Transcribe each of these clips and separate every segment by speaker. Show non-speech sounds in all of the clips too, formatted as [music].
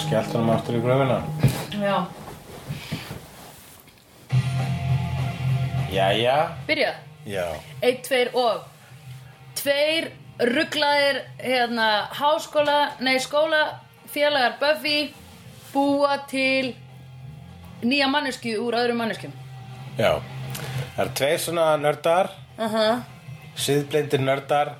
Speaker 1: skellt hann aftur í gröfina.
Speaker 2: Já,
Speaker 1: Jæja.
Speaker 2: byrjað
Speaker 1: Já.
Speaker 2: Eitt, tveir og Tveir rugglaðir hérna háskóla, nei skóla félagar Buffy búa til nýja manneskju úr öðrum manneskjum
Speaker 1: Já. Það eru tveir svona nördar. Uh -huh. Siðblindir nördar.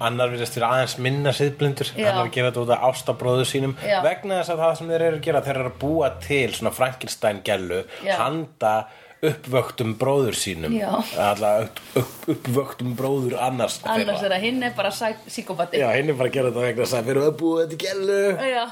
Speaker 1: Annar virðist vera aðeins minna siðblindur.
Speaker 2: Já.
Speaker 1: Annar gera þetta út af ástabróðu sínum.
Speaker 2: Já.
Speaker 1: Vegna þess að það sem þeir eru að gera, þeir eru að búa til svona Frankenstein-gellu.
Speaker 2: Já.
Speaker 1: Handa uppvöktum bróður sínum.
Speaker 2: Já.
Speaker 1: Alla upp, upp, uppvöktum bróður annars.
Speaker 2: annars
Speaker 1: þeirra.
Speaker 2: er að hinn er bara sæ- psykopati
Speaker 1: Já, hinn er bara að gera þetta vegna þess að þeir eru að búa þetta í gellu.
Speaker 2: Já,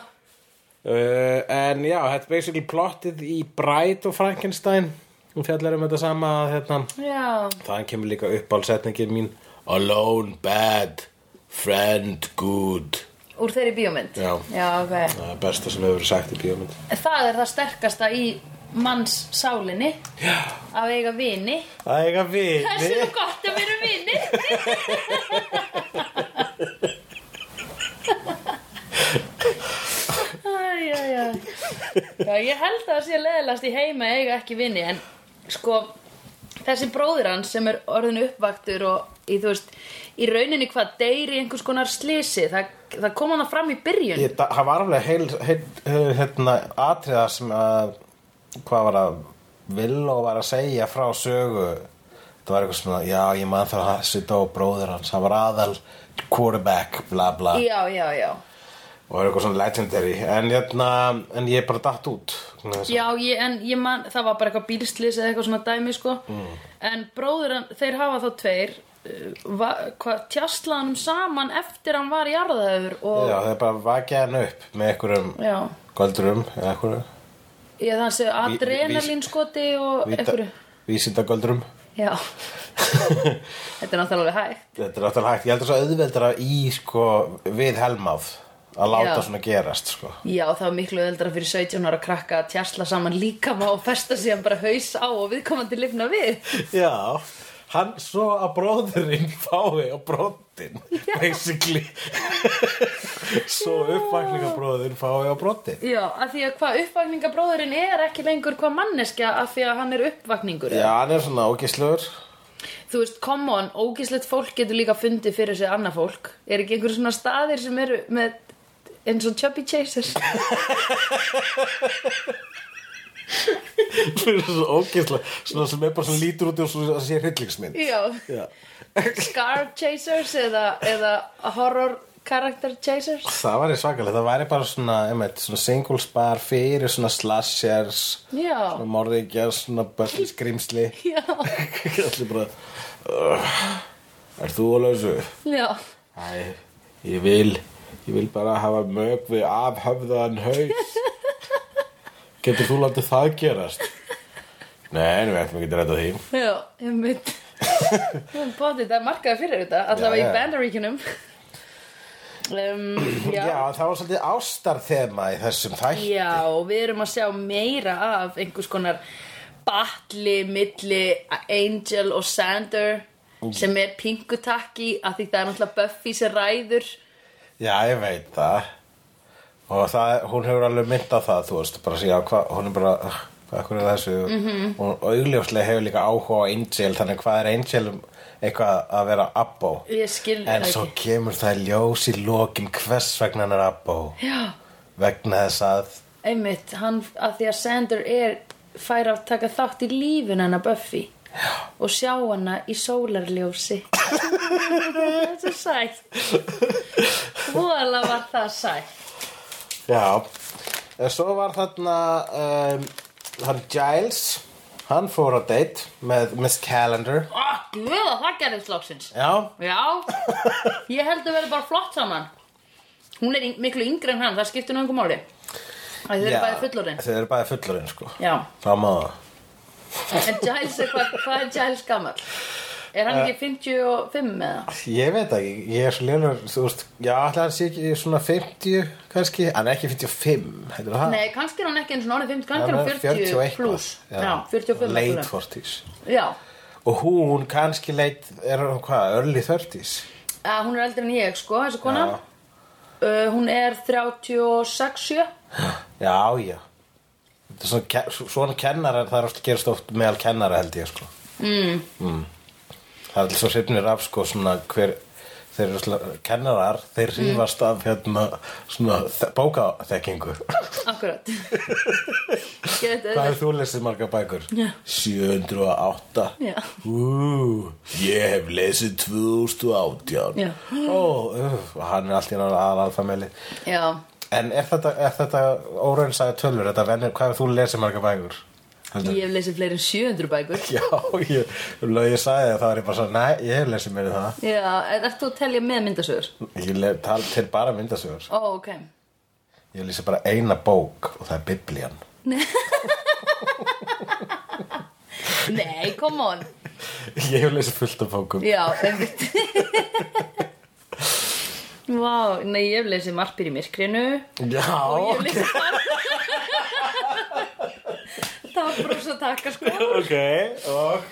Speaker 1: Uh, en já, þetta er basically plottið í Bright og Frankenstein og fjallar um þetta sama hérna.
Speaker 2: já.
Speaker 1: þannig kemur líka uppálsetningin mín Alone, bad, friend, good
Speaker 2: úr þeirri bíómynd
Speaker 1: Já.
Speaker 2: ok
Speaker 1: Það er besta sem hefur verið sagt í bíómynd
Speaker 2: Það er það sterkasta í manns sálinni Já Að eiga vini
Speaker 1: Það er eitthvað
Speaker 2: Það er
Speaker 1: vini
Speaker 2: svo gott að vera vini Æj, æj, æj Já, ég held að það sé leðilast í heima að eiga ekki vini En sko, þessi bróðir hans sem er orðin uppvaktur og í, þú veist, í rauninni hvað deyri einhvers konar slisi Það, það kom hann fram í byrjun
Speaker 1: Ég- Það það var alveg heil, heil, heil hérna, atriða sem að hvað var að Villó var að segja frá sögu það var eitthvað svona, já ég man það að sita á bróður hans, hann var aðal quarterback, bla bla
Speaker 2: Já, já, já
Speaker 1: og er eitthvað svona legendary en, hérna, en ég er bara datt út Svona þess að-
Speaker 2: Já, ég, en ég man, það var bara eitthvað bílslis eða eitthvað svona dæmi, sko. En bróður, hann- þeir hafa þá tveir, uh, va, hvað, tjastlaðanum saman eftir hann var í jarðaður og...
Speaker 1: já, það er bara að vakja hann upp með einhverjum
Speaker 2: Já.
Speaker 1: goldurum eða einhverjum
Speaker 2: Ég þannig að adrenalinskoti og einhverju.
Speaker 1: vísindagöldurum
Speaker 2: Já. Þetta er náttúrulega alveg hægt.
Speaker 1: þetta er náttúrulega hægt, ég heldur svo auðveldara í sko, við helmáð að láta
Speaker 2: Já.
Speaker 1: svona gerast sko.
Speaker 2: Já, það var miklu öldra fyrir 17 ára krakka að tjastla saman líkama og festa síðan bara haus á og viðkomandi lifna við.
Speaker 1: já, hann svo að bróðurinn fái á bróttin basically [laughs] svo uppvakningabróðurinn fái á bróttin
Speaker 2: Já, af því að hvað uppvakningabróðurinn er ekki lengur hvað manneskja af því að hann er uppvakningur.
Speaker 1: já, hann er svona ógislur
Speaker 2: Þú veist, come on, ógíslegt fólk getur líka fundið fyrir sig annað fólk. Er ekki einhver svona staðir sem eru með eins og Chubby Chaser?
Speaker 1: fyrir svo ógeðslega svona sem er bara svona lítur út og svona að sé hryllingsmynd
Speaker 2: Já.
Speaker 1: Já.
Speaker 2: Scar Chasers eða, eða Horror Character Chasers?
Speaker 1: það væri svakalega, það væri bara svona, einmitt, svona single spar fyrir svona slashers
Speaker 2: Já.
Speaker 1: svona morðingjar, svona börn skrimsli
Speaker 2: Já.
Speaker 1: [laughs] allir bara uh, er þú að lausu?
Speaker 2: Já.
Speaker 1: Æ, ég vil ég vil bara hafa mög við afhöfðan
Speaker 2: [laughs]
Speaker 1: haus getur þú látið það gerast? Nei, við ætlum ekki að ræta því
Speaker 2: Já, ég mynd. Bótið, það er markaði fyrir þetta, allavega
Speaker 1: Já, já.
Speaker 2: í Bandaríkinum. Um, já. já.
Speaker 1: það var svolítið ástarþema í þessum þætti
Speaker 2: Já, og við erum að sjá meira af einhvers konar batli milli Angel og Sander sem er pingutakki af því það er náttúrulega Buffy sem ræður
Speaker 1: Já, ég veit það og það, hún hefur alveg mynd á það þú veist, bara síðan, hva, hún er bara "Ugh, hvað hverju er þessu
Speaker 2: Mhm.
Speaker 1: -hmm. og augljóslega hefur líka áhuga á Angel þannig hvað er Angel um eitthvað að vera Abbo
Speaker 2: Ég skil
Speaker 1: en
Speaker 2: það
Speaker 1: svo
Speaker 2: ekki.
Speaker 1: kemur það í ljós í lokin hvers vegna hann er Abbo
Speaker 2: Já,
Speaker 1: vegna þess að
Speaker 2: einmitt, hann, af því að Sander er fær að taka þátt í lífun hennar Buffy Já. og sjá hana í sólarljósi
Speaker 1: [laughs]
Speaker 2: Þetta er sætt Vola var það sætt
Speaker 1: Já, en svo var þarna um, hann Giles hann fór á date með Miss Calendar
Speaker 2: Ó, Guða, það gerðist loksins
Speaker 1: Já,
Speaker 2: Já, ég held að vera bara flott saman Hún er yng- miklu yngri en hann, það skiptir nú einhver máli Æ, Þau eru
Speaker 1: Já,
Speaker 2: bæði fullorinn
Speaker 1: Þau eru bæði fullorinn, sko
Speaker 2: Já,
Speaker 1: Það má það
Speaker 2: en Giles er hvað, hvað er Giles gammal? Er hann
Speaker 1: Eh.
Speaker 2: ekki 55 eða?
Speaker 1: Ég veit ekki, ég er svo lélugur, þú veist, já, ætla hann sé ekki svona 50 kannski, hann er ekki 55, heitir það?
Speaker 2: Nei, kannski er hann ekki eins og orðið 50, kannski
Speaker 1: hann
Speaker 2: er
Speaker 1: er
Speaker 2: hann 40 plus Já, 45
Speaker 1: Late
Speaker 2: plus.
Speaker 1: 40s.
Speaker 2: Já,
Speaker 1: Og hún kannski late, er hún hvað, early 30s?
Speaker 2: að, Eh, hún er eldri en ég sko, þessi kona
Speaker 1: Já.
Speaker 2: uh, Hún er 36, 7
Speaker 1: Já, já Þetta er Svona, ke- svona kennarar, það er oft gerast oft meðal kennara held ég sko. mm. Það er allir svo hrifnir af sko, svona, hver, þeir eru svona, kennarar
Speaker 2: Mm.
Speaker 1: þeir hrifast af hérna, svona, þe- bókaþekkingu [laughs]
Speaker 2: Akkurat Get
Speaker 1: Hvað er þú lesið marga bækur?
Speaker 2: Já.
Speaker 1: 708
Speaker 2: Já.
Speaker 1: Ú, Ég hef lesið 2018
Speaker 2: Já.
Speaker 1: Ó, uh, hann er allt í náttúrulega aðalfamili
Speaker 2: Já,
Speaker 1: En er þetta, er þetta óraunsæði tölur, þetta vennir, hvað er þú lesið marga bækur? Heldur?
Speaker 2: ég hef lesið fleiri en 700 bækur
Speaker 1: Já, ég, um leið ég sagði það, þá er ég bara svo, næ, ég hef lesið mér það.
Speaker 2: Já, er þetta að telja með myndasögur?
Speaker 1: Ég le, tal til bara myndasögur.
Speaker 2: Ó, ok
Speaker 1: Ég lesið bara eina bók og það er Biblían. [laughs]
Speaker 2: Nei, come on
Speaker 1: Ég hef lesið fullt af bókum.
Speaker 2: Já, einmitt Vá, nei, ég hef lesið marpir í myrkrinu
Speaker 1: Já,
Speaker 2: og ég hef lesið marpir Það var brosa takka sko
Speaker 1: ok, og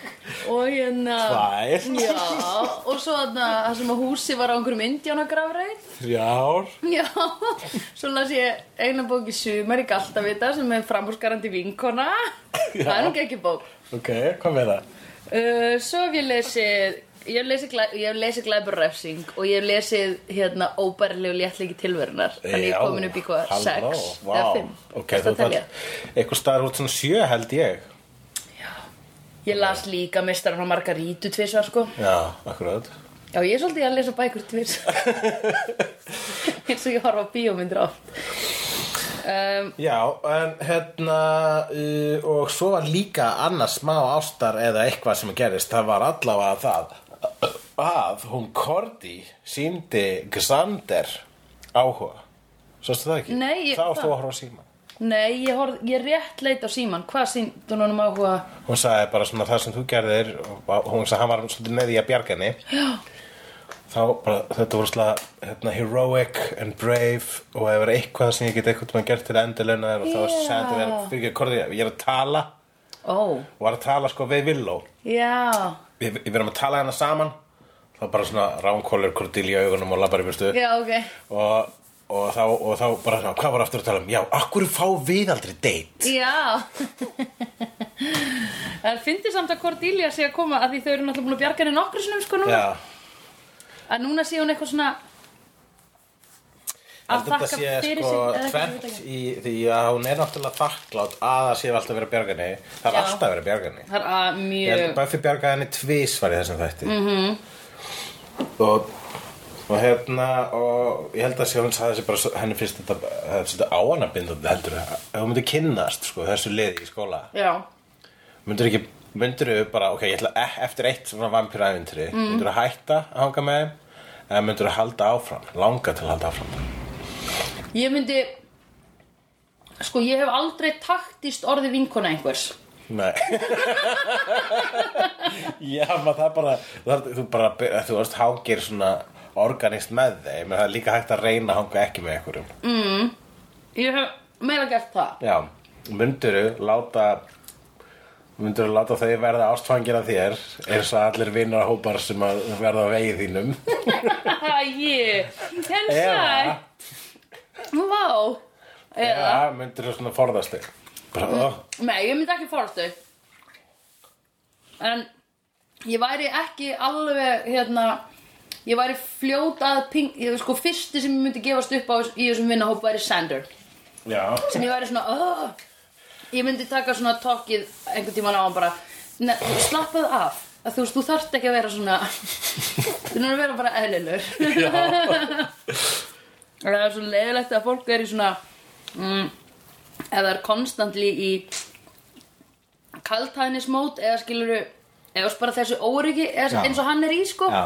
Speaker 2: og hérna
Speaker 1: tvær,
Speaker 2: Já, og svo þarna það sem að húsi var á einhverjum indjánagrafreit
Speaker 1: þrjár,
Speaker 2: Já, svo las ég eina bók í sumar í Galtavita sem er framhúsgarandi vinkona Það er nú ekki ekki bók
Speaker 1: ok, hvað með það?
Speaker 2: uh, Svo hef ég lesið Ég hef lesið, glæ, ég hef lesið glæburrefsing og ég hef lesið hérna óbærilegu léttlegi tilverunar Þannig ég er komin upp í hvað
Speaker 1: halló,
Speaker 2: 6
Speaker 1: vá.
Speaker 2: eða 5
Speaker 1: Ok, þú þarf, eitthvað staðar út svona sjö held ég.
Speaker 2: Ég las líka mestarinn á Margarítu tvisvar sko
Speaker 1: Já, akkurat.
Speaker 2: Já, ég er svolítið að lesa bækur
Speaker 1: [laughs]
Speaker 2: tvisvar eins og ég horfa á bíómyndir átt um,
Speaker 1: Já, en hérna uh, og svo var líka annars smá ástar eða eitthvað sem gerist það var allavega það að hún Korti síndi Xander áhuga Svo stu það ekki?
Speaker 2: Nei, ég-
Speaker 1: Þá varst
Speaker 2: það-
Speaker 1: þú að horfa á síma
Speaker 2: Nei, ég, horf, ég rétt leit á síman Hvað sýndu honum áhuga?
Speaker 1: Hún sagði bara svona það sem þú gerðir og hún sagði hann var svolítið með í að bjarga henni Já Þá bara, þetta voru slag hérna, heroic and brave og ef er eitthvað sem ég get eitthvað maður gert til að endurlauna þér og þá
Speaker 2: Já.
Speaker 1: sagði þetta verið, fyrir ekki Korti, ég er að tala
Speaker 2: Ó,
Speaker 1: var að tala sko við Villó
Speaker 2: já
Speaker 1: við, við erum að tala hana saman þá bara svona ránkólur kordil í augunum og labbar í burtu
Speaker 2: Já, ok
Speaker 1: og, og, þá, og þá bara svona, hvað var aftur að tala um já, akkur fá við aldrei date
Speaker 2: Já Það finnir samt að Cordelia sé að koma að því þau eru náttúrulega búin að bjarga henni nokkru sinum sko núna
Speaker 1: já,
Speaker 2: að núna sé hún eitthvað svona að
Speaker 1: heldur þetta
Speaker 2: þakka
Speaker 1: sé
Speaker 2: fyrir
Speaker 1: sko
Speaker 2: sig eða eitthvað, ég veit
Speaker 1: tvent
Speaker 2: ekki.
Speaker 1: í því að hún er náttúrulega þakklátt að það sé alltaf verið að bjarga henni það
Speaker 2: Já.
Speaker 1: er alltaf verið að bjarga henni
Speaker 2: Það er að
Speaker 1: ég held að
Speaker 2: mjög
Speaker 1: Buffy bjargaði henni tvísvar í þessum þætti -hmm.
Speaker 2: Mhm.
Speaker 1: og og hérna og ég held að sé hún sagði þessi bara svo- henni finnst þetta það er svolítið áanabindandi heldur ef hún myndi kynnast sko þessu liði í skóla
Speaker 2: Já,
Speaker 1: myndur ekki myndur þau bara ok ég ætla e- eftir eitt svona vampíræfintri mm.
Speaker 2: Mhm.
Speaker 1: myndur þau hætta að hanga með þeim eða myndur þau halda áfram langa til að halda áfram
Speaker 2: ég myndi sko ég hef aldrei taktist orði vinkona einhvers
Speaker 1: Nei Já, maður það er bara það, þú bara, þú veist, hangir svona organist með þeim en það er líka hægt að reyna að hanga ekki með einhverjum
Speaker 2: Ég hef meira gert það
Speaker 1: Já, munduru láta munduru láta þau verða ástfangir af þér eins og allir vinnarhópar sem að verða á vegi þínum
Speaker 2: Æ, henni
Speaker 1: Eða-
Speaker 2: sætt Vá Eða
Speaker 1: Já, munduru svona forðast þig Bara, "Ó,
Speaker 2: Nei, ég myndi ekki forðast þau En ég væri ekki alveg hérna Ég væri fljót að ping Ég sko fyrsti sem ég myndi gefast upp á í þessum vinnahóp væri Sander
Speaker 1: Já, [laughs]
Speaker 2: sem ég væri svona "Ugh." Ég myndi taka svona tokkið einhvern tímann á hann bara "Ne, Slappaðu af að þú veist, þú þarft ekki að vera svona [laughs] þú erum að vera bara eðlilur það er svo leiðilegt að fólk er í svona mm, eða er konstantli í kaltæðnismót eða skiluru eða bara þessu óryggi eða
Speaker 1: Já.
Speaker 2: eins og hann er í sko
Speaker 1: Já.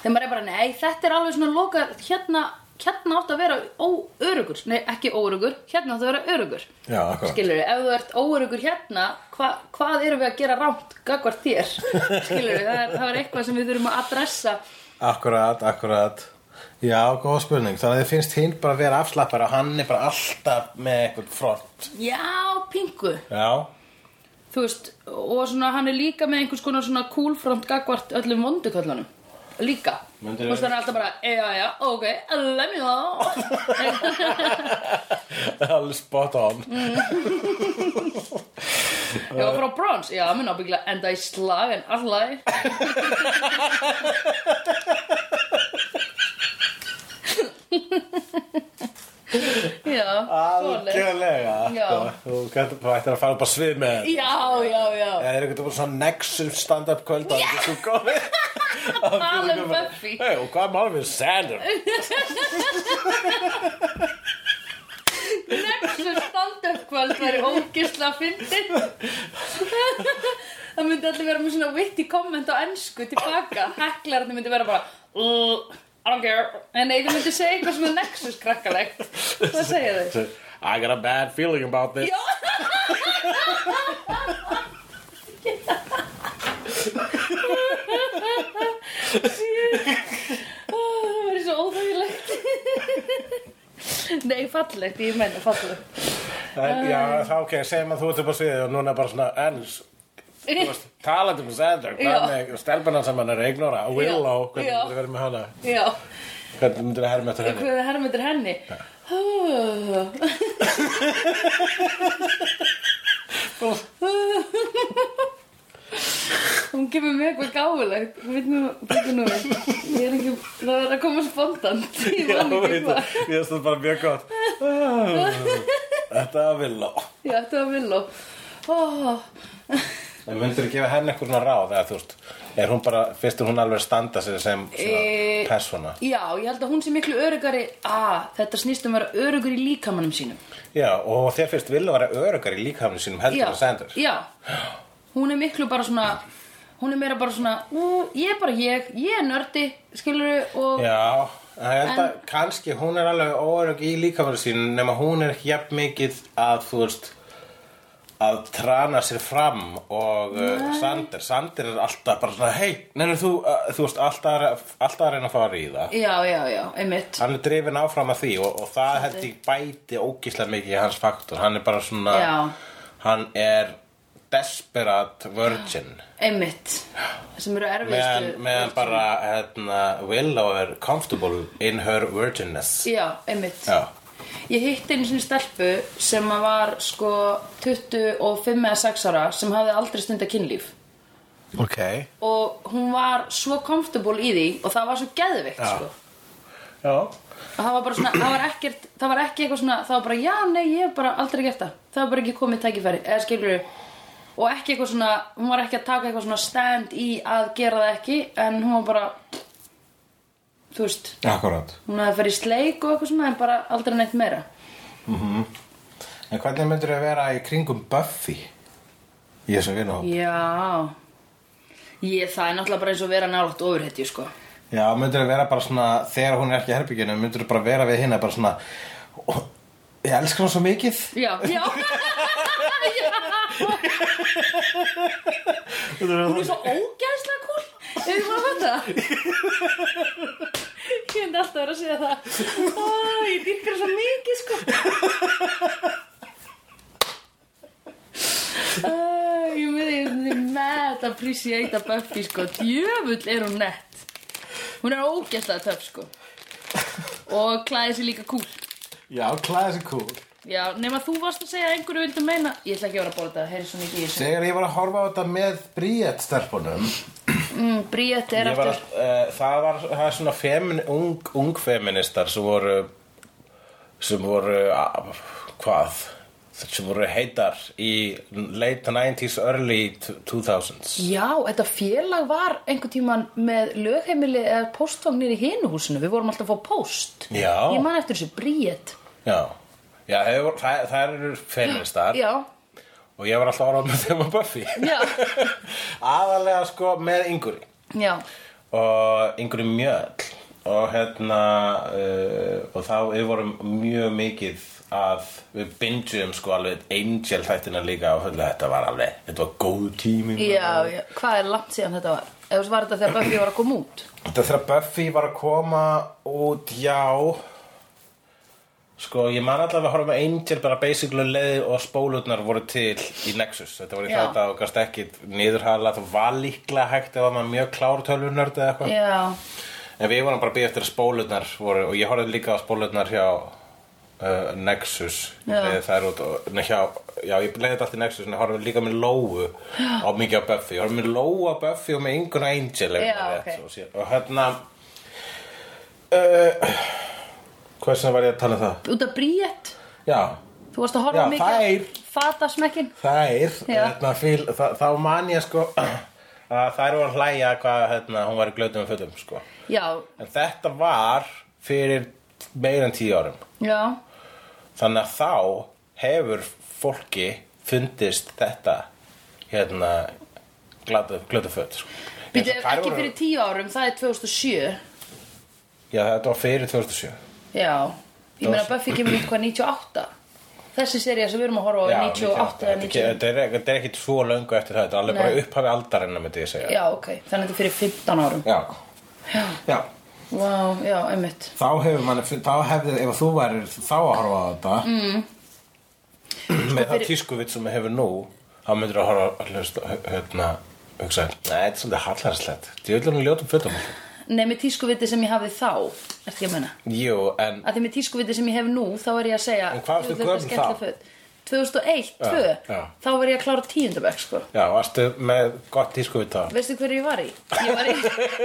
Speaker 2: þegar maður er bara nei þetta er alveg svona loka hérna, hérna átt að vera óörugur nei ekki óörugur, hérna átt að vera örugur
Speaker 1: já, akkurat
Speaker 2: skilur ef þú ert óörugur hérna hva, hvað erum við að gera rámt gagvart þér
Speaker 1: [laughs]
Speaker 2: skilur það er, það er eitthvað sem við þurfum að adressa
Speaker 1: Akkurat, akkurat Já, góð spurning, þannig að þið finnst hinn bara að vera afslappar og hann er bara alltaf með eitthvað front
Speaker 2: já pingu
Speaker 1: Já, [laughs]
Speaker 2: þú veist, og svona hann er líka með einhvers konar svona cool front gagvart öllum vonduköllunum líka Þú
Speaker 1: Myndirðu-
Speaker 2: veist, hann er alltaf bara, já, já, ok,
Speaker 1: [laughs]
Speaker 2: lemjó
Speaker 1: Alveg spot on
Speaker 2: Mm, Ég var frá brons, já, minn ábyggilega enda í slag en
Speaker 1: [laughs]
Speaker 2: allæg [laughs] Já, svoleið
Speaker 1: Algjörlega
Speaker 2: Já.
Speaker 1: sko. Þú gæti bara ættir að fara upp á svið með þetta.
Speaker 2: Já, já, já
Speaker 1: Eða er eitthvað bara svona nexum stand-up kvöld Það er ekki svo
Speaker 2: [laughs]
Speaker 1: góð
Speaker 2: Tala um Buffy.
Speaker 1: hey, Og hvað er málum við Sandra?
Speaker 2: Nexus stand-up kvöld væri ógisla fyndið Það myndi allir vera með svona witty comment á ennsku tilbaka Heklarni myndi vera bara "Uh, I don't care En nei, þau myndi segja eitthvað sem er Nexus krakkalegt Hvað segja þau?
Speaker 1: I got a bad feeling about this
Speaker 2: Já Ó, Það verður svo óþægilegt Nei, fallegt, ég menna fallegt
Speaker 1: en, Já, þá ok, segjum að þú ert upp á sviði Og núna bara svona ens
Speaker 2: [laughs]
Speaker 1: þú veist, Talandi um Sandra
Speaker 2: Já.
Speaker 1: Hvað með stelpana sem hann er að ignora Willow, hvernig
Speaker 2: Já.
Speaker 1: myndir verið með hana?
Speaker 2: Já
Speaker 1: Hvernig myndir það herma eftir henni?
Speaker 2: Hvað er hermyndir henni? [laughs] Hún kemur með eitthvað gáfulegt Veit nú, veit nú Ég er ekki, það er að koma spontant [laughs] Ég
Speaker 1: Já,
Speaker 2: man ekki
Speaker 1: veit
Speaker 2: hvað
Speaker 1: það, ég veist það bara mjög gott
Speaker 2: [laughs]
Speaker 1: Þetta var Willow
Speaker 2: Já, þetta var Villó oh.
Speaker 1: En myndir þú gefa henni eitthvað svona ráð eða þú veist, er hún bara, fyrst er hún alveg að standa sig sem svona
Speaker 2: Eh,
Speaker 1: persóna
Speaker 2: Já, ég held að hún sé miklu örugari ah, Þetta snýst um að vera örugur í líkamannum sínum
Speaker 1: Já, og þér fyrst vilja vera örugar í líkafnum sínum heldur
Speaker 2: já,
Speaker 1: en Sanders
Speaker 2: já, hún er miklu bara svona hún er meira bara svona ú, ég er bara ég, ég er nördi skilur og
Speaker 1: Já, sko. en ég held að kannski hún er alveg örug í líkafnum sínum nema hún er ekki jafn mikið að þú veist að trana sér fram og uh, Sander, Sander er alltaf bara svona hei, neina þú, uh, þú veist alltaf, að re- alltaf að reyna að fara í það
Speaker 2: já, já, já, einmitt
Speaker 1: hann er drifin áfram af því og, og það held ég bæti ógíslega mikið í hans faktor hann er bara svona
Speaker 2: Já.
Speaker 1: hann er desperat virgin
Speaker 2: einmitt, sem eru
Speaker 1: meðan,
Speaker 2: erfiðstu
Speaker 1: meðan bara hérna, Willow er comfortable in her virginness
Speaker 2: já, einmitt
Speaker 1: já,
Speaker 2: ég hitti einu sinni stelpu sem að var sko 25 eða 6 ára sem hafði aldrei stunda kynlíf
Speaker 1: ok
Speaker 2: og hún var svo comfortable í því og það var svo geðvikt
Speaker 1: Já.
Speaker 2: sko
Speaker 1: já,
Speaker 2: og það var bara svona, það var ekkert það var ekki eitthvað svona, það var bara já, nei, ég hef bara aldrei gert það, það var bara ekki komið tækifæri eða skilur og ekki eitthvað svona, hún var ekki að taka eitthvað svona stand í að gera það ekki en hún var bara þú veist,
Speaker 1: akkurat
Speaker 2: hún hafði farið í sleik og eitthvað svona en bara aldrei neitt meira
Speaker 1: en hvernig myndir þau vera í kringum Buffy í þessum vinahóp
Speaker 2: já ég, það er náttúrulega bara eins og vera nálægt ofurhetju sko
Speaker 1: já, myndir þau vera bara svona þegar hún er ekki í herbygginu, myndir þau bara vera við hinn bara svona "Ó, ég elskar hún svo mikið
Speaker 2: já, já, já. Hún er svo ógæðslega kúl Er þið búin að fatta það? [laughs] Ég hefndi alltaf verið að segja það Ó, Ég dyrkar svo mikið sko Æ, Ég með því Mad appreciate að Buffy sko Djöfull er hún nett Hún er ógæðslega töf sko Og klæði sér líka kúl
Speaker 1: já, klæði sér cool
Speaker 2: Já, nema þú varst að segja að einhverju vildi meina Ég ætla ekki að vera að bóla þetta, heyri svo mikið í þessu
Speaker 1: Þegar ég var að horfa á þetta með Bríett stelpunum
Speaker 2: mm, Bríett er
Speaker 1: ég var,
Speaker 2: aftur
Speaker 1: að- eh, það var það er svona femin, ung, ung feministar sem voru sem voru ah, hvað sem voru heitar í late 90s, early 2000s
Speaker 2: Já, þetta félag var einhvern tíman með lögheimili eða postfangnir í hinu húsinu. Við vorum alltaf að fá post.
Speaker 1: Já.
Speaker 2: Ég man eftir þessu bríett.
Speaker 1: Já, já þeir voru- það, það eru feministar
Speaker 2: Já,
Speaker 1: og ég var alltaf að horfa með þeim að Buffy
Speaker 2: Já.
Speaker 1: [laughs] aðalega sko með ynguri
Speaker 2: já,
Speaker 1: og yngri mjöll og hérna uh, og þá við vorum mjög mikið að við bingjum sko alveg Angel þættina líka og hérna, þetta var alveg, þetta var góð tími
Speaker 2: já, já. Hvað er langt síðan þetta var? Eða þú veist, var þetta þegar Buffy var að koma út?
Speaker 1: Þetta þegar Buffy var að koma út já Sko, ég man allavega að horfa með Angel bara basically um leið og spólutnar voru til í Nexus. Þetta voru í
Speaker 2: Já.
Speaker 1: þetta og gast ekki niðurhala. Það var líklega hægt ef það var mjög klár tölvunörd eða eitthvað.
Speaker 2: Já,
Speaker 1: En við vorum bara að býja eftir að spólutnar voru og ég horfði líka á spólutnar hjá uh, Nexus.
Speaker 2: Já.
Speaker 1: Ég Það er út og, nei, hjá, já, ég leiði þetta allt í Nexus en ég horfði líka með Lóu á mikið á Buffy. Ég horfði með Lóu á Buffy og með yngur Angel. ef
Speaker 2: Já,
Speaker 1: ég man rétt,
Speaker 2: ok.
Speaker 1: og síðan- Og hérna... Uh, Hversna var ég að tala um það?
Speaker 2: út af bríett
Speaker 1: Já,
Speaker 2: Þú varst að horfa
Speaker 1: Já,
Speaker 2: mikið Fatasmekkin
Speaker 1: Þær,
Speaker 2: Já.
Speaker 1: hérna, fíl, þa þá man ég sko [clears throat] að þær voru að hlæja hvað hérna, hún var í glötum og fötum sko.
Speaker 2: Já,
Speaker 1: En þetta var fyrir meira en tíu árum.
Speaker 2: já,
Speaker 1: Þannig að þá hefur fólki fundist þetta hérna glötum föt sko.
Speaker 2: Býtu,
Speaker 1: Ég- þær
Speaker 2: ekki
Speaker 1: voru-
Speaker 2: fyrir tíu árum, það er 2007
Speaker 1: Já, þetta var fyrir 2007.
Speaker 2: Já, ég meina Buffy kemur út hvað 98 Þessi serið sem við erum að horfa á er
Speaker 1: Já,
Speaker 2: 98 eða
Speaker 1: Þetta er ekki-
Speaker 2: 90
Speaker 1: þetta er ekki- þetta er ekki svo löngu eftir það. Þetta er alveg
Speaker 2: Nei.
Speaker 1: bara upphafi aldarinnar, myndi ég segja.
Speaker 2: Já, ok, þannig að þetta er fyrir 15 árum
Speaker 1: Já. Já. Já.
Speaker 2: Vá, já, einmitt
Speaker 1: þá hefur mann þá hefði, ef þú værir þá að horfa á þetta mm. [clears throat] með það
Speaker 2: Sko, fyrir-
Speaker 1: tískuvit sem hefur nú þá myndir að horfa að hlusta hérna, hugsa, nei, þetta er svolítið hallarslegt ég vil hann ljótum fötum
Speaker 2: Nei, með tískuviti sem ég hafði þá Ertu ég að meina?
Speaker 1: jú, en
Speaker 2: Að því með tískuviti sem ég hef nú, þá er ég að segja
Speaker 1: En hvað varstu
Speaker 2: "Jú, þetta er
Speaker 1: gömul
Speaker 2: skemmtileg
Speaker 1: þá?"
Speaker 2: föt." 2001,
Speaker 1: Já,
Speaker 2: 2
Speaker 1: já.
Speaker 2: Þá var ég að klára tíundabæk, sko
Speaker 1: já, varstu með gott tískuvit þá
Speaker 2: Veistu hverju ég var í? Ég var í, [laughs]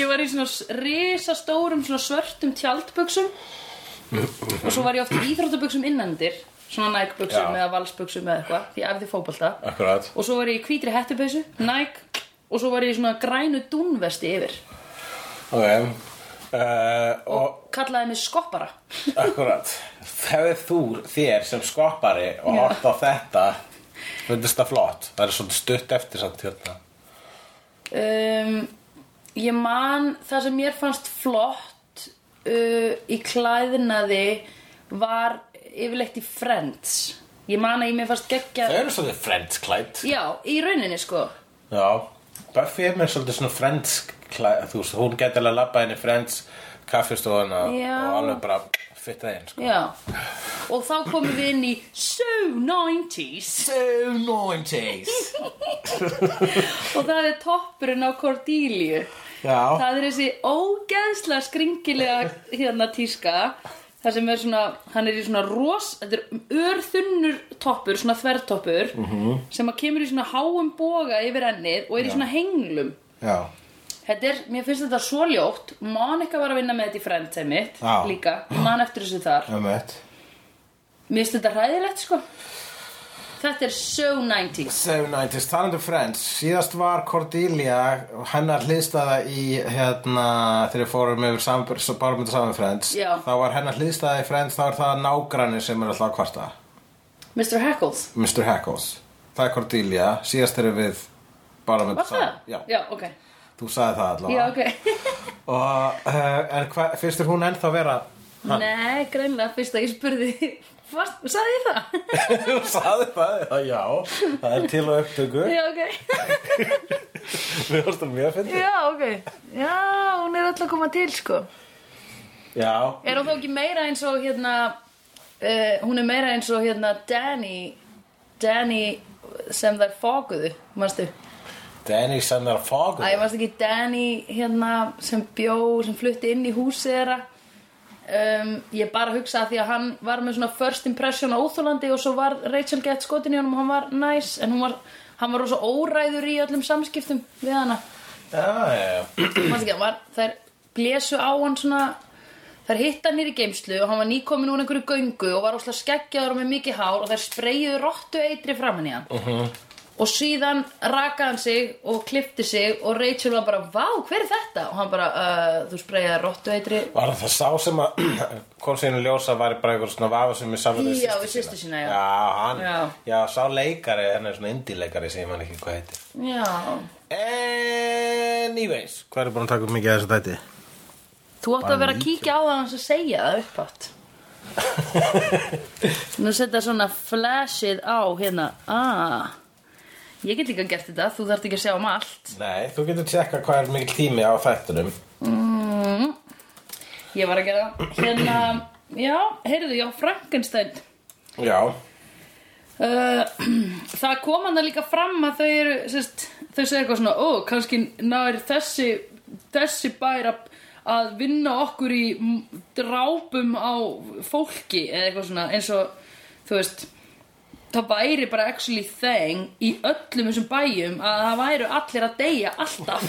Speaker 2: ég var í svona risastórum svona svörtum tjaldböksum og svo var ég oft í íþróttaböksum innandir svona Nike-böksum
Speaker 1: Já.
Speaker 2: eða Vals-böksum eða eitthvað því ég æfði fótbolta
Speaker 1: akkurat
Speaker 2: og svo var ég í hvítri hettupeysu, Nike og svo var ég í svona grænu dúnvesti yfir
Speaker 1: ok uh, og
Speaker 2: kallaði mig skoppara
Speaker 1: akkurat hefur þú þér sem skoppari og
Speaker 2: Já.
Speaker 1: hort á þetta fundist það flott það er svolítið stutt eftir samt hérna
Speaker 2: um, Ég man það sem mér fannst flott uh, í klæðinaði var yfirleitt í Friends Ég man að ég mér fannst geggja
Speaker 1: þau eru svolítið frendsklætt
Speaker 2: Já, í rauninni sko
Speaker 1: Já, Buffy er með svolítið svona Friends klæð, þú veist, hún geti alveg labbað inn í Friends kaffistofuna
Speaker 2: Já.
Speaker 1: og alveg bara fitta inn, sko.
Speaker 2: Já Og þá komum við inn í So 90s
Speaker 1: So 90s.
Speaker 2: Og það er toppurinn á Cordelia
Speaker 1: Já,
Speaker 2: Það er þessi ógeðsla skringilega hérna tíska Það sem er svona, hann er í svona ros Þetta er örþunnur toppur, svona þvertoppur
Speaker 1: Mhm.
Speaker 2: -hmm. Sem að kemur í svona háum boga yfir ennið Og er í svona henglum
Speaker 1: já,
Speaker 2: Þetta er, mér finnst þetta svo ljótt Monika var að vinna með þetta í Friends heimitt
Speaker 1: Já.
Speaker 2: Líka, ég man eftir þessu þar
Speaker 1: um eitt.
Speaker 2: Mér finnst þetta hræðilegt sko Þetta er so 90s
Speaker 1: So 90s, talandi um Friends, síðast var Cordelia, hennar hliðstæða í, hérna, þegar við fórum yfir saman, bara myndið saman Friends,
Speaker 2: Já.
Speaker 1: þá var hennar hliðstæða í Friends, þá er það nágranni sem er alltaf að kvarta.
Speaker 2: Mr. Heckles
Speaker 1: Mr. Hackles, það er Cordelia, síðast erum við bara myndið
Speaker 2: Var það?
Speaker 1: Já.
Speaker 2: ok
Speaker 1: Þú sagði það allavega.
Speaker 2: Já, ok
Speaker 1: Og, uh, en hva, finnst þér hún ennþá vera? [laughs]
Speaker 2: Nei, greinlega fyrst að ég spurði Vast, Sagði ég það? [laughs]
Speaker 1: Þú saði það, já, já, það er til og upptöku.
Speaker 2: Já, ok
Speaker 1: Við vorstum mjög að finna.
Speaker 2: Já, ok Já, hún er öll að koma til sko
Speaker 1: Já,
Speaker 2: Er hún þá ekki meira eins og hérna uh, Hún er meira eins og hérna Danny Danny sem þær fókuðu Manstu?
Speaker 1: Danny sem er að fogu.
Speaker 2: Æ, varst ekki Danny hérna sem bjó, sem flutti inn í húsið þeirra um, Ég bara hugsa að því að hann var með svona first impression á Óþólandi og svo var Rachel gett skotin í honum og hann var nice en hún var, hann var rosa óræður í öllum samskiptum við hana
Speaker 1: Já, já, já.
Speaker 2: Varst ekki, hann var, þær blésu á hann svona Þær hitta hann hér í geimslu og hann var nýkomin úr einhverju göngu og var óslega skeggjaður og með mikið hár og þær spreyjuðu rottu eitri framan í hann. Og síðan rakaði hann sig og klifti sig og Rachel var bara, vá, hver er þetta? Og hann bara, uh, þú spreyjaði rottu eitri.
Speaker 1: Var það sá sem að [clears throat] kom síðan í ljós að væri bara einhver svona vafa sem ég saman
Speaker 2: Já, við systur sína, já.
Speaker 1: Já, hann, já.
Speaker 2: Já.
Speaker 1: sá leikari, henn er svona indie-leikari sem ég man ekki hvað heitir.
Speaker 2: Já.
Speaker 1: Anyways, hvað er búin að taka upp mikið af þessu þætti?
Speaker 2: Þú átt að vera að kíkja á það hans að segja það uppátt. Nú setja svona flashið á hérna. Ah, ég get líka gert þetta, þú þarft ekki að sjá um allt.
Speaker 1: Nei, þú getur tjekka hvað er mikil tími á þættunum.
Speaker 2: Ég var að gera það. Hérna, já, heyrðu, já, Frankenstein
Speaker 1: Já,
Speaker 2: Uh, [clears throat] það kom hann líka fram að þau eru sérst, þau segja eitthvað svona ó, kannski nær þessi þessi bær að, að vinna okkur í m- drápum á fólki eða eitthvað svona eins og þú veist það væri bara actually thing í öllum þessum bæjum að það væru allir að deyja alltaf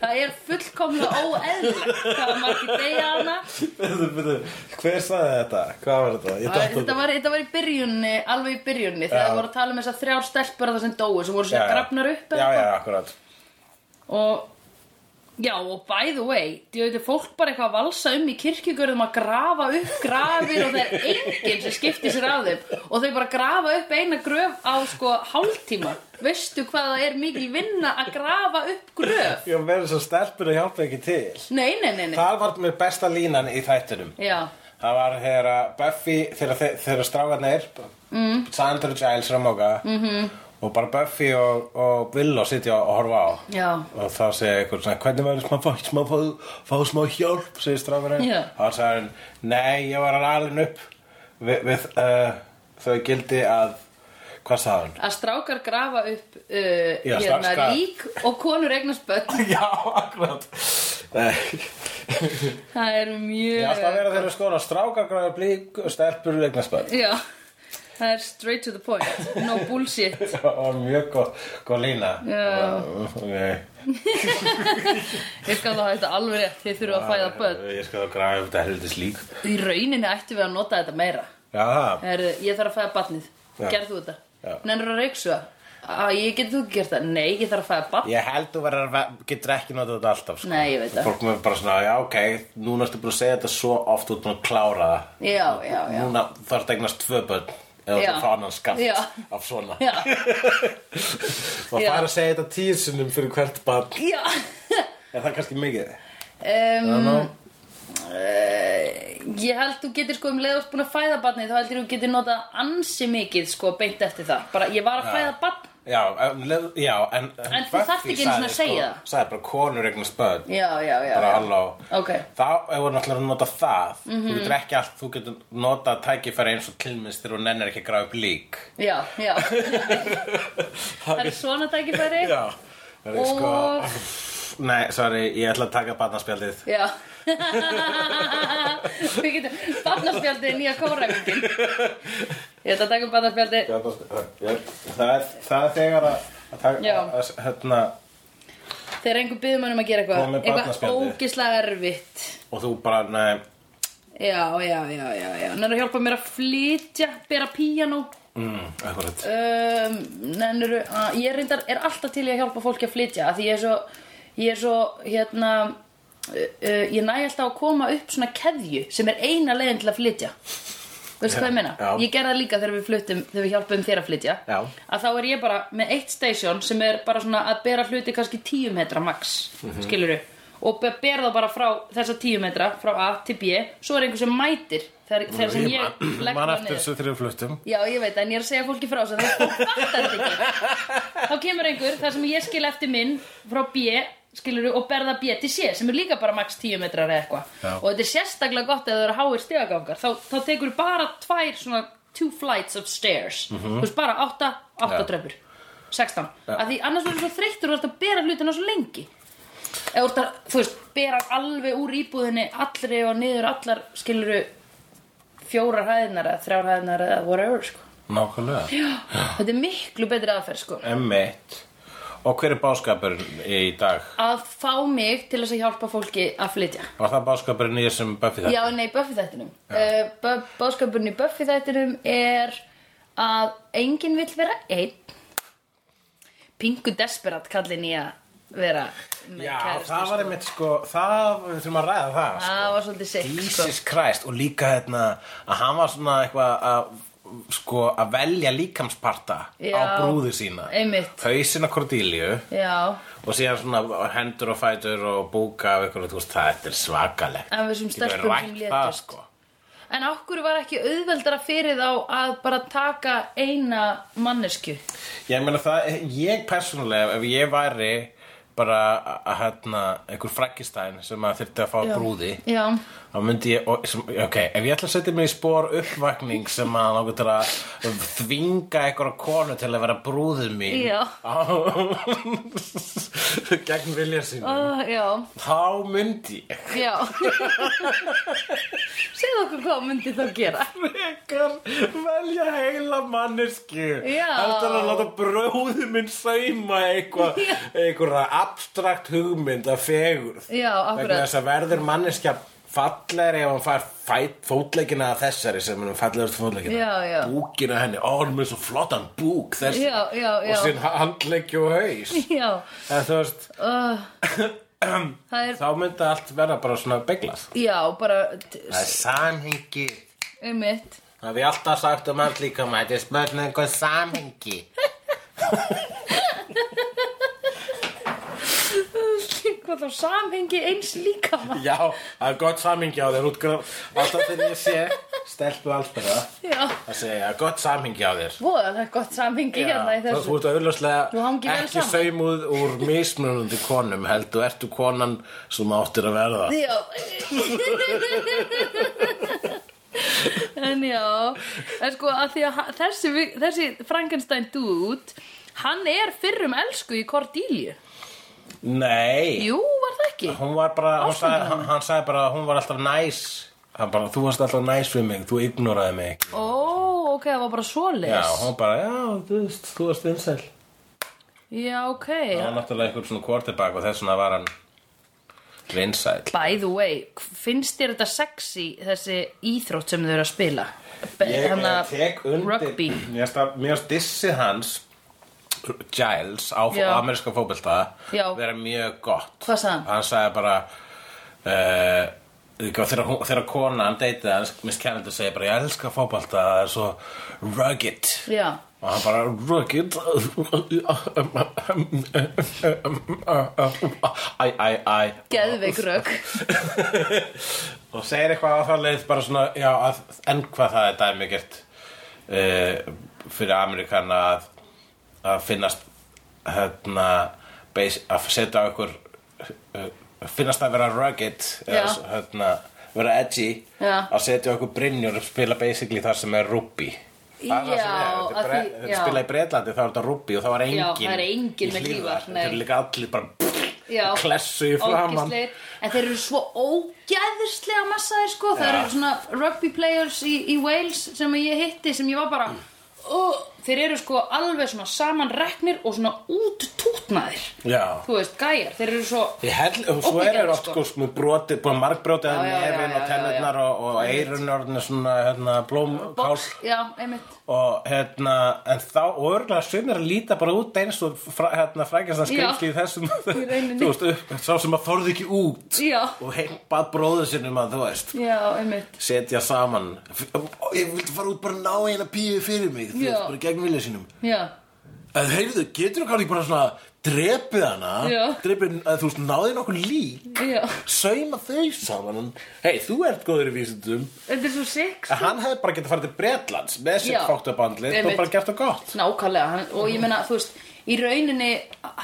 Speaker 2: það er fullkomlega óeðlegt hvað margir deyja hana
Speaker 1: Byrðu, byrðu, hver sagði þetta? Hvað var þetta? Ég datt
Speaker 2: Þetta
Speaker 1: út.
Speaker 2: var, þetta var í byrjunni, alveg í byrjunni þegar
Speaker 1: Já.
Speaker 2: það voru að tala um þessar þrjár stelpur að það sem dóu sem voru svona grafnar upp
Speaker 1: Já,
Speaker 2: eða
Speaker 1: já,
Speaker 2: eitthvað.
Speaker 1: akkurat
Speaker 2: og já og by the way þetta er fólk bara eitthvað að valsa um í kirkjugörðum að grafa upp grafir og það er enginn sem skiptir sér af þeim og þau bara grafa upp eina gröf á sko hálftíma veistu hvað það er mikil vinna að grafa upp gröf
Speaker 1: Ég verður svo stelpur að hjálpa ekki til
Speaker 2: nei nei nei, nei.
Speaker 1: Það var mér besta línan í þættinum
Speaker 2: Já,
Speaker 1: Það var þegar að Buffy, þegar, þe- þegar strákarnir, mm. Sandra og Giles er að móka
Speaker 2: Mm-hmm.
Speaker 1: -hmm. og bara Buffy og, og Willow sitja og horfa á
Speaker 2: Já.
Speaker 1: og þá segir einhvern svona, hvernig verður smá, fá- smá, fá, fá smá hjálp, segir strákarinn
Speaker 2: Já.
Speaker 1: og hann sagði hann, nei, ég var alveg upp við, við uh, þau gildi að, hvað sagði hann? [laughs]
Speaker 2: að strákar grafa upp uh,
Speaker 1: Já,
Speaker 2: hérna,
Speaker 1: strákar-
Speaker 2: lík og konur eignast börn
Speaker 1: Já, akkurat Nei [laughs]
Speaker 2: Það er mjög
Speaker 1: Ég ætla að vera þeirra skóla strákagræður blík og stelpur leiknarsbæð.
Speaker 2: Já, það er straight to the point No bullshit
Speaker 1: Það var mjög góð, góð lína.
Speaker 2: Já.
Speaker 1: Ok.
Speaker 2: Ég skal það þetta alveg rétt Þið þurfum að fæða börn
Speaker 1: Ég skal þá græða um þetta helviti slík.
Speaker 2: Í rauninni ættum við að nota þetta meira
Speaker 1: Já, það.
Speaker 2: Heru, Ég þarf að fæða barnið
Speaker 1: Já.
Speaker 2: Gerð þú þetta?
Speaker 1: Já.
Speaker 2: Nennir að reyksu það? Ég getur þú ekki gert það? Nei, ég þarf að fæða barn
Speaker 1: Ég held þú verður, að ve- getur ekki notað þetta alltaf, sko.
Speaker 2: Nei, ég veit það
Speaker 1: Fólk með bara svona, já, ok, núna ertu búin að segja þetta svo oft, þú ert búin að klára það.
Speaker 2: Já, já, já
Speaker 1: Núna þarf þetta eignast tvö börn, eða
Speaker 2: Já.
Speaker 1: þetta fá annan skatt
Speaker 2: Já.
Speaker 1: af svona.
Speaker 2: Já,
Speaker 1: Og
Speaker 2: Já.
Speaker 1: það er að segja þetta tíu sinnum fyrir hvert barn.
Speaker 2: já [laughs]
Speaker 1: Er það kannski mikið?
Speaker 2: um,
Speaker 1: Nú,
Speaker 2: Eh, ég held þú getur sko um leið og búin að fæða barnið þá heldur þú getur notað ansi mikið sko beint eftir það bara ég var að fæða barn
Speaker 1: Já, en, leð- já, en, en,
Speaker 2: En þú þarft ekki einu sinni að segja það.
Speaker 1: það. Sæði bara konur eignast börn.
Speaker 2: já já já,
Speaker 1: bara
Speaker 2: já.
Speaker 1: halló
Speaker 2: Ok.
Speaker 1: þá hefur náttúrulega að nota það
Speaker 2: Mhm.
Speaker 1: þú getur ekki allt, þú getur notað tækifæri eins og tilminnst þegar hún nennir ekki að grafa upp lík
Speaker 2: Já,
Speaker 1: [laughs]
Speaker 2: já Það er svona tækifæri
Speaker 1: já það er sko
Speaker 2: Og-
Speaker 1: nei, sorry, ég ætla að taka batnaspjaldið
Speaker 2: Já [laughs] Við getum barnaspjaldið er nýja kóræfingin Ég ætla að taka upp barnaspjaldið
Speaker 1: það er, það er þegar að, að taka
Speaker 2: Já.
Speaker 1: að, hérna,
Speaker 2: Þegar einhver byggður mann um að gera
Speaker 1: Komið
Speaker 2: eitthvað
Speaker 1: með
Speaker 2: Eitthvað
Speaker 1: barnaspjaldið.
Speaker 2: ógislega erfitt
Speaker 1: og þú bara nei,
Speaker 2: Já, já, já, já, já Nennir að hjálpa mér að flytja, bera píanó
Speaker 1: mm, akkurat
Speaker 2: um, Nennir að Ég reyndar er alltaf til í að hjálpa fólki að flytja af Því ég er svo Ég er svo, hérna uh, uh, Ég næ alltaf að koma upp svona keðju Sem er eina leiðin til að flytja Veistu hvað ég meina?
Speaker 1: Já.
Speaker 2: Ég gerði það líka þegar við fluttum, þegar við hjálpum þér að flytja
Speaker 1: Já.
Speaker 2: að þá er ég bara með eitt station sem er bara svona að bera hluti kannski 10 metra max, mm
Speaker 1: Mhm.
Speaker 2: -hmm. skilurðu og be- ber það bara frá þessa 10 metra frá A til B, svo er einhver sem mætir þegar, þegar sem ég legg
Speaker 1: mann
Speaker 2: það
Speaker 1: eftir þessu þegar við fluttum
Speaker 2: Já, ég veit, en ég er að segja fólki frá þess að það fattar þetta ekki. Þá kemur einhver, þar sem ég skil eftir minn frá B, skilur og berða B til C, sem er líka bara max 10 metrar eða eitthvað.
Speaker 1: Já.
Speaker 2: Og þetta er sérstaklega gott ef það eru háir stegagangar. Þá, þá tekur bara tvær svona two flights of stairs. Þú veist, bara 8, 8
Speaker 1: Mhm. Já.
Speaker 2: tröppur. 16. Af því annars verður svo þreyttur og þú ert að bera hlutina svo lengi. Ef þú ert að, þú veist, bera alveg úr íbúðinni allri og niður allar, skilur fjórar hæðinar eða þrjár hæðinar eða whatever, sko.
Speaker 1: nákvæmlega
Speaker 2: Þetta er miklu betri aðferð sko
Speaker 1: emmitt og hver er báskapurinn í dag?
Speaker 2: Að fá mig til þess að hjálpa fólki að flytja
Speaker 1: Var það báskapurinn í þessum Buffy þetta?
Speaker 2: Já, nei, Buffy þættinum uh, Báskapurinn í Buffy þættinum er að enginn vill vera einn Pingu desperat kallin í að vera með
Speaker 1: Já,
Speaker 2: kærustu,
Speaker 1: það var
Speaker 2: sko.
Speaker 1: einmitt sko, það, við þurfum að ræða það sko.
Speaker 2: Það var svolítið sick sko.
Speaker 1: Jesus Christ og líka hérna að hann var svona eitthvað að sko að velja líkamsparta
Speaker 2: Já,
Speaker 1: á brúðu sína
Speaker 2: einmitt.
Speaker 1: hausina Cordelia
Speaker 2: Já,
Speaker 1: og síðan svona hendur og fætur og búka af eitthvað, þú veist, það þetta er svakalegt
Speaker 2: en við sem
Speaker 1: Getur
Speaker 2: stelpum sem
Speaker 1: rætt það,
Speaker 2: létust
Speaker 1: sko.
Speaker 2: En okkur var ekki auðveldara fyrir þá að bara taka eina mannesku
Speaker 1: Ég meina það, ég persónulega ef ég væri bara að hérna einhver fraggistæn sem að þyrfti að fá brúði
Speaker 2: Já,
Speaker 1: þá myndi ég, og- sem, ok, ef ég ætla að setja mig í spór uppvakning sem að nákvæmt til að þvinga einhverja konu til að vera brúðið mín
Speaker 2: Já.
Speaker 1: á, [laughs] gegn vilja sínu
Speaker 2: uh, já,
Speaker 1: þá myndi ég
Speaker 2: já Segðu okkur hvað myndi þá gera
Speaker 1: frekar velja heila mannesku
Speaker 2: Já.
Speaker 1: heldur að láta bróðið minn sauma eitthvað einhverja abstrakt hugmynd af fegurð
Speaker 2: Já,
Speaker 1: vegna
Speaker 2: akkurat
Speaker 1: þess að verður manneskja fallegri ef hann fær fæt fótleikina af þessari sem hann fallegurst fótleikina
Speaker 2: Já, já.
Speaker 1: búkina henni, ó hann er með svo flottan búk þessi
Speaker 2: Já, já, já.
Speaker 1: og sín handleiki og haus
Speaker 2: Já,
Speaker 1: en þú veist,
Speaker 2: uh, það er
Speaker 1: þá myndi allt verða bara svona beglað
Speaker 2: Já, bara
Speaker 1: það er samhengi
Speaker 2: um mitt
Speaker 1: það er við alltaf sagt um allt líka maður þetta er spörnum einhver um samhengi
Speaker 2: Hvað þá samhengi eins líka maður
Speaker 1: já, það er gott samhengi á þér útgraf alltaf þegar ég sé stelpu alls bara
Speaker 2: Já
Speaker 1: það segja, gott samhengi á þér
Speaker 2: Voða, það er gott samhengi hérna í
Speaker 1: þá
Speaker 2: þessu
Speaker 1: þú ert
Speaker 2: Þú
Speaker 1: auðlagslega
Speaker 2: hangir vel
Speaker 1: ekki
Speaker 2: saman.
Speaker 1: saumuð úr mismunandi konum heldur ertu konan sem áttir að verða
Speaker 2: Já En já En sko að því að ha- þessi, vi- þessi Frankenstein dude Hann er fyrrum elsku í Cordelia
Speaker 1: nei,
Speaker 2: Jú, var það ekki?
Speaker 1: hún var bara hún
Speaker 2: Ástin
Speaker 1: sagði, hann, hann sagði bara að hún var alltaf næs hann bara, þú varst alltaf næs við mig þú ignoraði mig ekki
Speaker 2: Ó, ok, það var bara
Speaker 1: já,
Speaker 2: svoleiðis
Speaker 1: hún bara, já, þú veist, þú varst vinsæl
Speaker 2: Já, ok
Speaker 1: hann var náttúrulega einhver svona quarterback og þess vegna var hann vinsæl
Speaker 2: By the way, finnst þér þetta sexy þessi íþrótt sem þau eru að spila? Be-
Speaker 1: ég
Speaker 2: hana-
Speaker 1: eh, tek undir
Speaker 2: rugby.
Speaker 1: mér finnst að- mér finnst dissi hans Giles á
Speaker 2: Já.
Speaker 1: Já. ameríska fótbolta
Speaker 2: Já.
Speaker 1: vera mjög gott
Speaker 2: Hvað sagði hann?
Speaker 1: hann sagði bara uh, þegar, hún- þegar konan deytið hans Miss Kennedy segir bara ég elska fótbolta það er svo rugged
Speaker 2: Já,
Speaker 1: og hann bara rugged æ, æ, æ
Speaker 2: geðveik rögg
Speaker 1: og segir eitthvað á þá leið bara svona, já, að, en hvað það er dæmigert uh, fyrir Amerikana að, að finnast hérna, beis, að setja á ykkur uh, finnast að vera rugged
Speaker 2: Já.
Speaker 1: eða, hérna, vera edgy
Speaker 2: Já.
Speaker 1: að setja á ykkur brinjur og spila basically þar sem er rúbbi Það er það sem
Speaker 2: Já,
Speaker 1: er. Þetta
Speaker 2: að
Speaker 1: er bre-
Speaker 2: því-
Speaker 1: þetta
Speaker 2: já.
Speaker 1: er spila í Breitlandi, þá er þetta rúbbi og þá er engin
Speaker 2: Já, það er enginn með hlífar, nei.
Speaker 1: Það er líka allir bara
Speaker 2: Já.
Speaker 1: klessu í framann
Speaker 2: Ógeðslegir. En þeir eru svo ógeðislega massaðir sko Það
Speaker 1: Já.
Speaker 2: eru svona rugby players í, í Wales sem ég hitti sem ég var bara oh, Þeir eru sko alveg svona samanreknir og svona úttútnaðir
Speaker 1: Já
Speaker 2: Þú veist, gæjar, þeir eru svo
Speaker 1: Ég held, og svo
Speaker 2: Óbyggjandi,
Speaker 1: eru oft
Speaker 2: sko.
Speaker 1: sko, sko brotið, búin margbrotið að
Speaker 2: Já, já, já,
Speaker 1: nefin
Speaker 2: já,
Speaker 1: og
Speaker 2: já,
Speaker 1: tennurnar
Speaker 2: já.
Speaker 1: og, og eirun orðinu svona hérna, blómkál
Speaker 2: Box, já, einmitt
Speaker 1: og hérna, en þá, og örgulega sumir líta bara út eins og fra, hérna, frækjast að skrimsli í þessum
Speaker 2: rauninni.
Speaker 1: þú veist, upp, sá sem að þorði ekki út
Speaker 2: Já,
Speaker 1: og heimpað bróður sinum að þú veist
Speaker 2: já, einmitt
Speaker 1: setja saman F- ó, ég vildi fara út bara að ná eina píu fyrir mig þú
Speaker 2: Já.
Speaker 1: veist, bara gegn vilja sínum
Speaker 2: Já,
Speaker 1: að heyrðu, getur þú kannski bara svona drepið hana
Speaker 2: Já.
Speaker 1: drepið, að þú veist, náði nokkuð lík
Speaker 2: já
Speaker 1: sauma þau saman hei, þú ert góður í vísindum
Speaker 2: Þetta er svo sick
Speaker 1: en hann hefði bara getið farið til Bretlands með
Speaker 2: Já.
Speaker 1: sitt fóktabandli og
Speaker 2: Einmitt.
Speaker 1: bara gert það gott
Speaker 2: Nákvæmlega, hann, og ég meina, þú veist, í rauninni,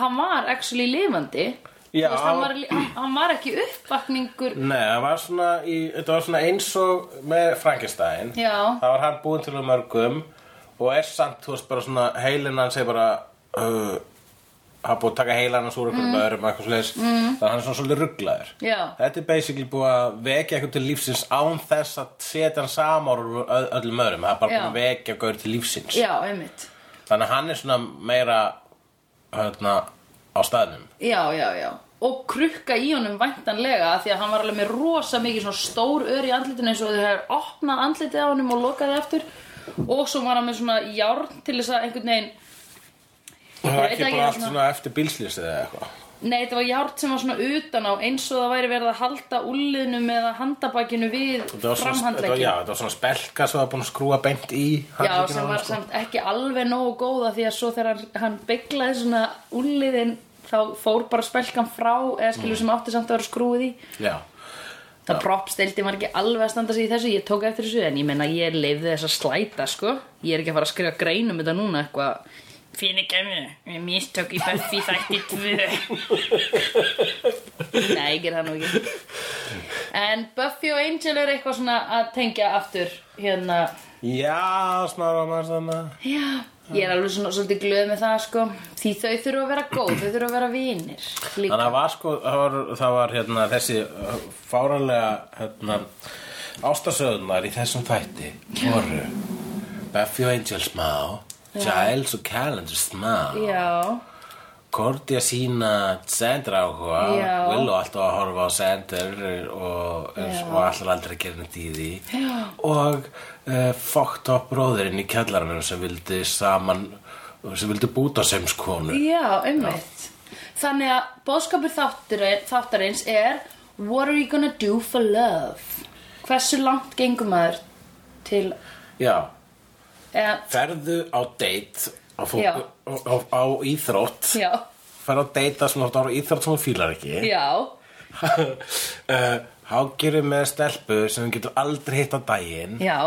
Speaker 2: hann var actually lifandi
Speaker 1: Já.
Speaker 2: Þú veist, hann var, hann, hann var ekki uppvakningur
Speaker 1: Nei, það var svona í, þetta var svona eins og með Frankenstein
Speaker 2: Já.
Speaker 1: Það var hann búinn til um mörgum og er samt, þú veist, bara svona heilin hann segir bara uh, hann er búið að taka heilan hans úr einhverjum öðrum eitthvað svoleiðis, mm. þannig hann er svona svolítið rugglaður
Speaker 2: Já.
Speaker 1: Þetta er basically búið að vekja eitthvað til lífsins án þess að setja hann samar úr ö- öllum öðrum, það er bara
Speaker 2: Já.
Speaker 1: búið að vekja gaur til lífsins
Speaker 2: Já, einmitt
Speaker 1: Þannig að hann er svona meira hérna, á staðnum
Speaker 2: Já, já, já Og krukka í honum væntanlega af Því að hann var alveg með rosa mikið svona stór ör í andlitinu eins og þau hefur opnað andlitið á honum og lokaði aftur Og svo var hann með svona járn til þess að einhvern veginn veit
Speaker 1: Það er ekki
Speaker 2: ekki
Speaker 1: bara allt
Speaker 2: hérna.
Speaker 1: svona eftir bílslýsið eða eitthvað
Speaker 2: Nei, þetta var járn sem var svona utan á eins og það væri verið að halda úlliðnum eða handabakinu við
Speaker 1: Þetta var svona- þetta var-
Speaker 2: framhandleggi
Speaker 1: Já, þetta var svona spelka sem var búin að skrúa beint í
Speaker 2: Já,
Speaker 1: handlegginn á
Speaker 2: sem
Speaker 1: honum,
Speaker 2: var
Speaker 1: sko.
Speaker 2: samt ekki alveg nógu góða því að svo þegar hann, hann bygglaði svona úliðin þá fór bara spelkan frá eða skilur sem átti samt að vera skrúið í
Speaker 1: Já,
Speaker 2: Það propstildi var ekki alveg að standa sig í þessu, ég tók eftir þessu en ég meina ég leifði þess að slæta sko Ég er ekki að fara að skrifa grein um þetta núna eitthvað Fyrir gemmu, við mistök í Buffy þætti tvö Nei, ég ger það nú ekki En Buffy og Angel er eitthvað svona að tengja aftur hérna
Speaker 1: Já, smá romans þarna
Speaker 2: Já, ég er alveg svona svolítið glöð með það sko Því þau þurfa að vera góð, þau þurfa að vera vinir
Speaker 1: Þannig
Speaker 2: líka
Speaker 1: að var sko, það var, það var hérna, þessi uh, fáranlega hérna, ástasöðunar í þessum þætti voru Buffy og Angel smá, Giles og Calendar smá,
Speaker 2: Já,
Speaker 1: Cordy að sína Sander áhuga,
Speaker 2: Já.
Speaker 1: Willow alltaf að horfa á Sander og,
Speaker 2: Já.
Speaker 1: og allar aldrei að gera neitt í því Já. og uh, fókt á bróðurinn í kjallaranum sem vildi saman, sem vildi búta sem skonu.
Speaker 2: já, einmitt Þannig að bóðskapur þáttur, þáttarins er What are you gonna do for love? Hversu langt gengum maður til
Speaker 1: Já.
Speaker 2: eða,
Speaker 1: ferðu á date á, fó,
Speaker 2: Já.
Speaker 1: á, á, á íþrótt
Speaker 2: Já,
Speaker 1: ferðu á date að svona á íþrótt sem þú fílar [laughs] ekki
Speaker 2: já,
Speaker 1: uh, hágjöru með stelpu sem þú getur aldrei hitt á daginn
Speaker 2: já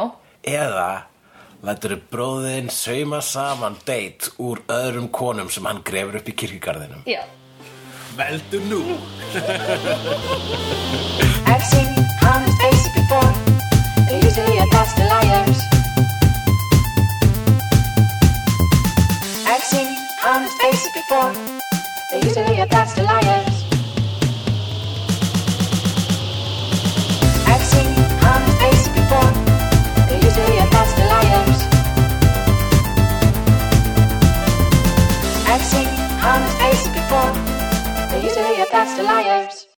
Speaker 1: eða lætur bróðin sauma saman date úr öðrum konum sem hann grefur upp í kirkjugarðinum
Speaker 2: Já,
Speaker 1: veldu nú
Speaker 3: I've seen honest faces before. They're usually a pass to liars. I've seen honest faces before. They're usually a pass to liars. I've seen honest faces before. They're usually a pass to liars. I've seen honest faces before. They're usually a pass to liars.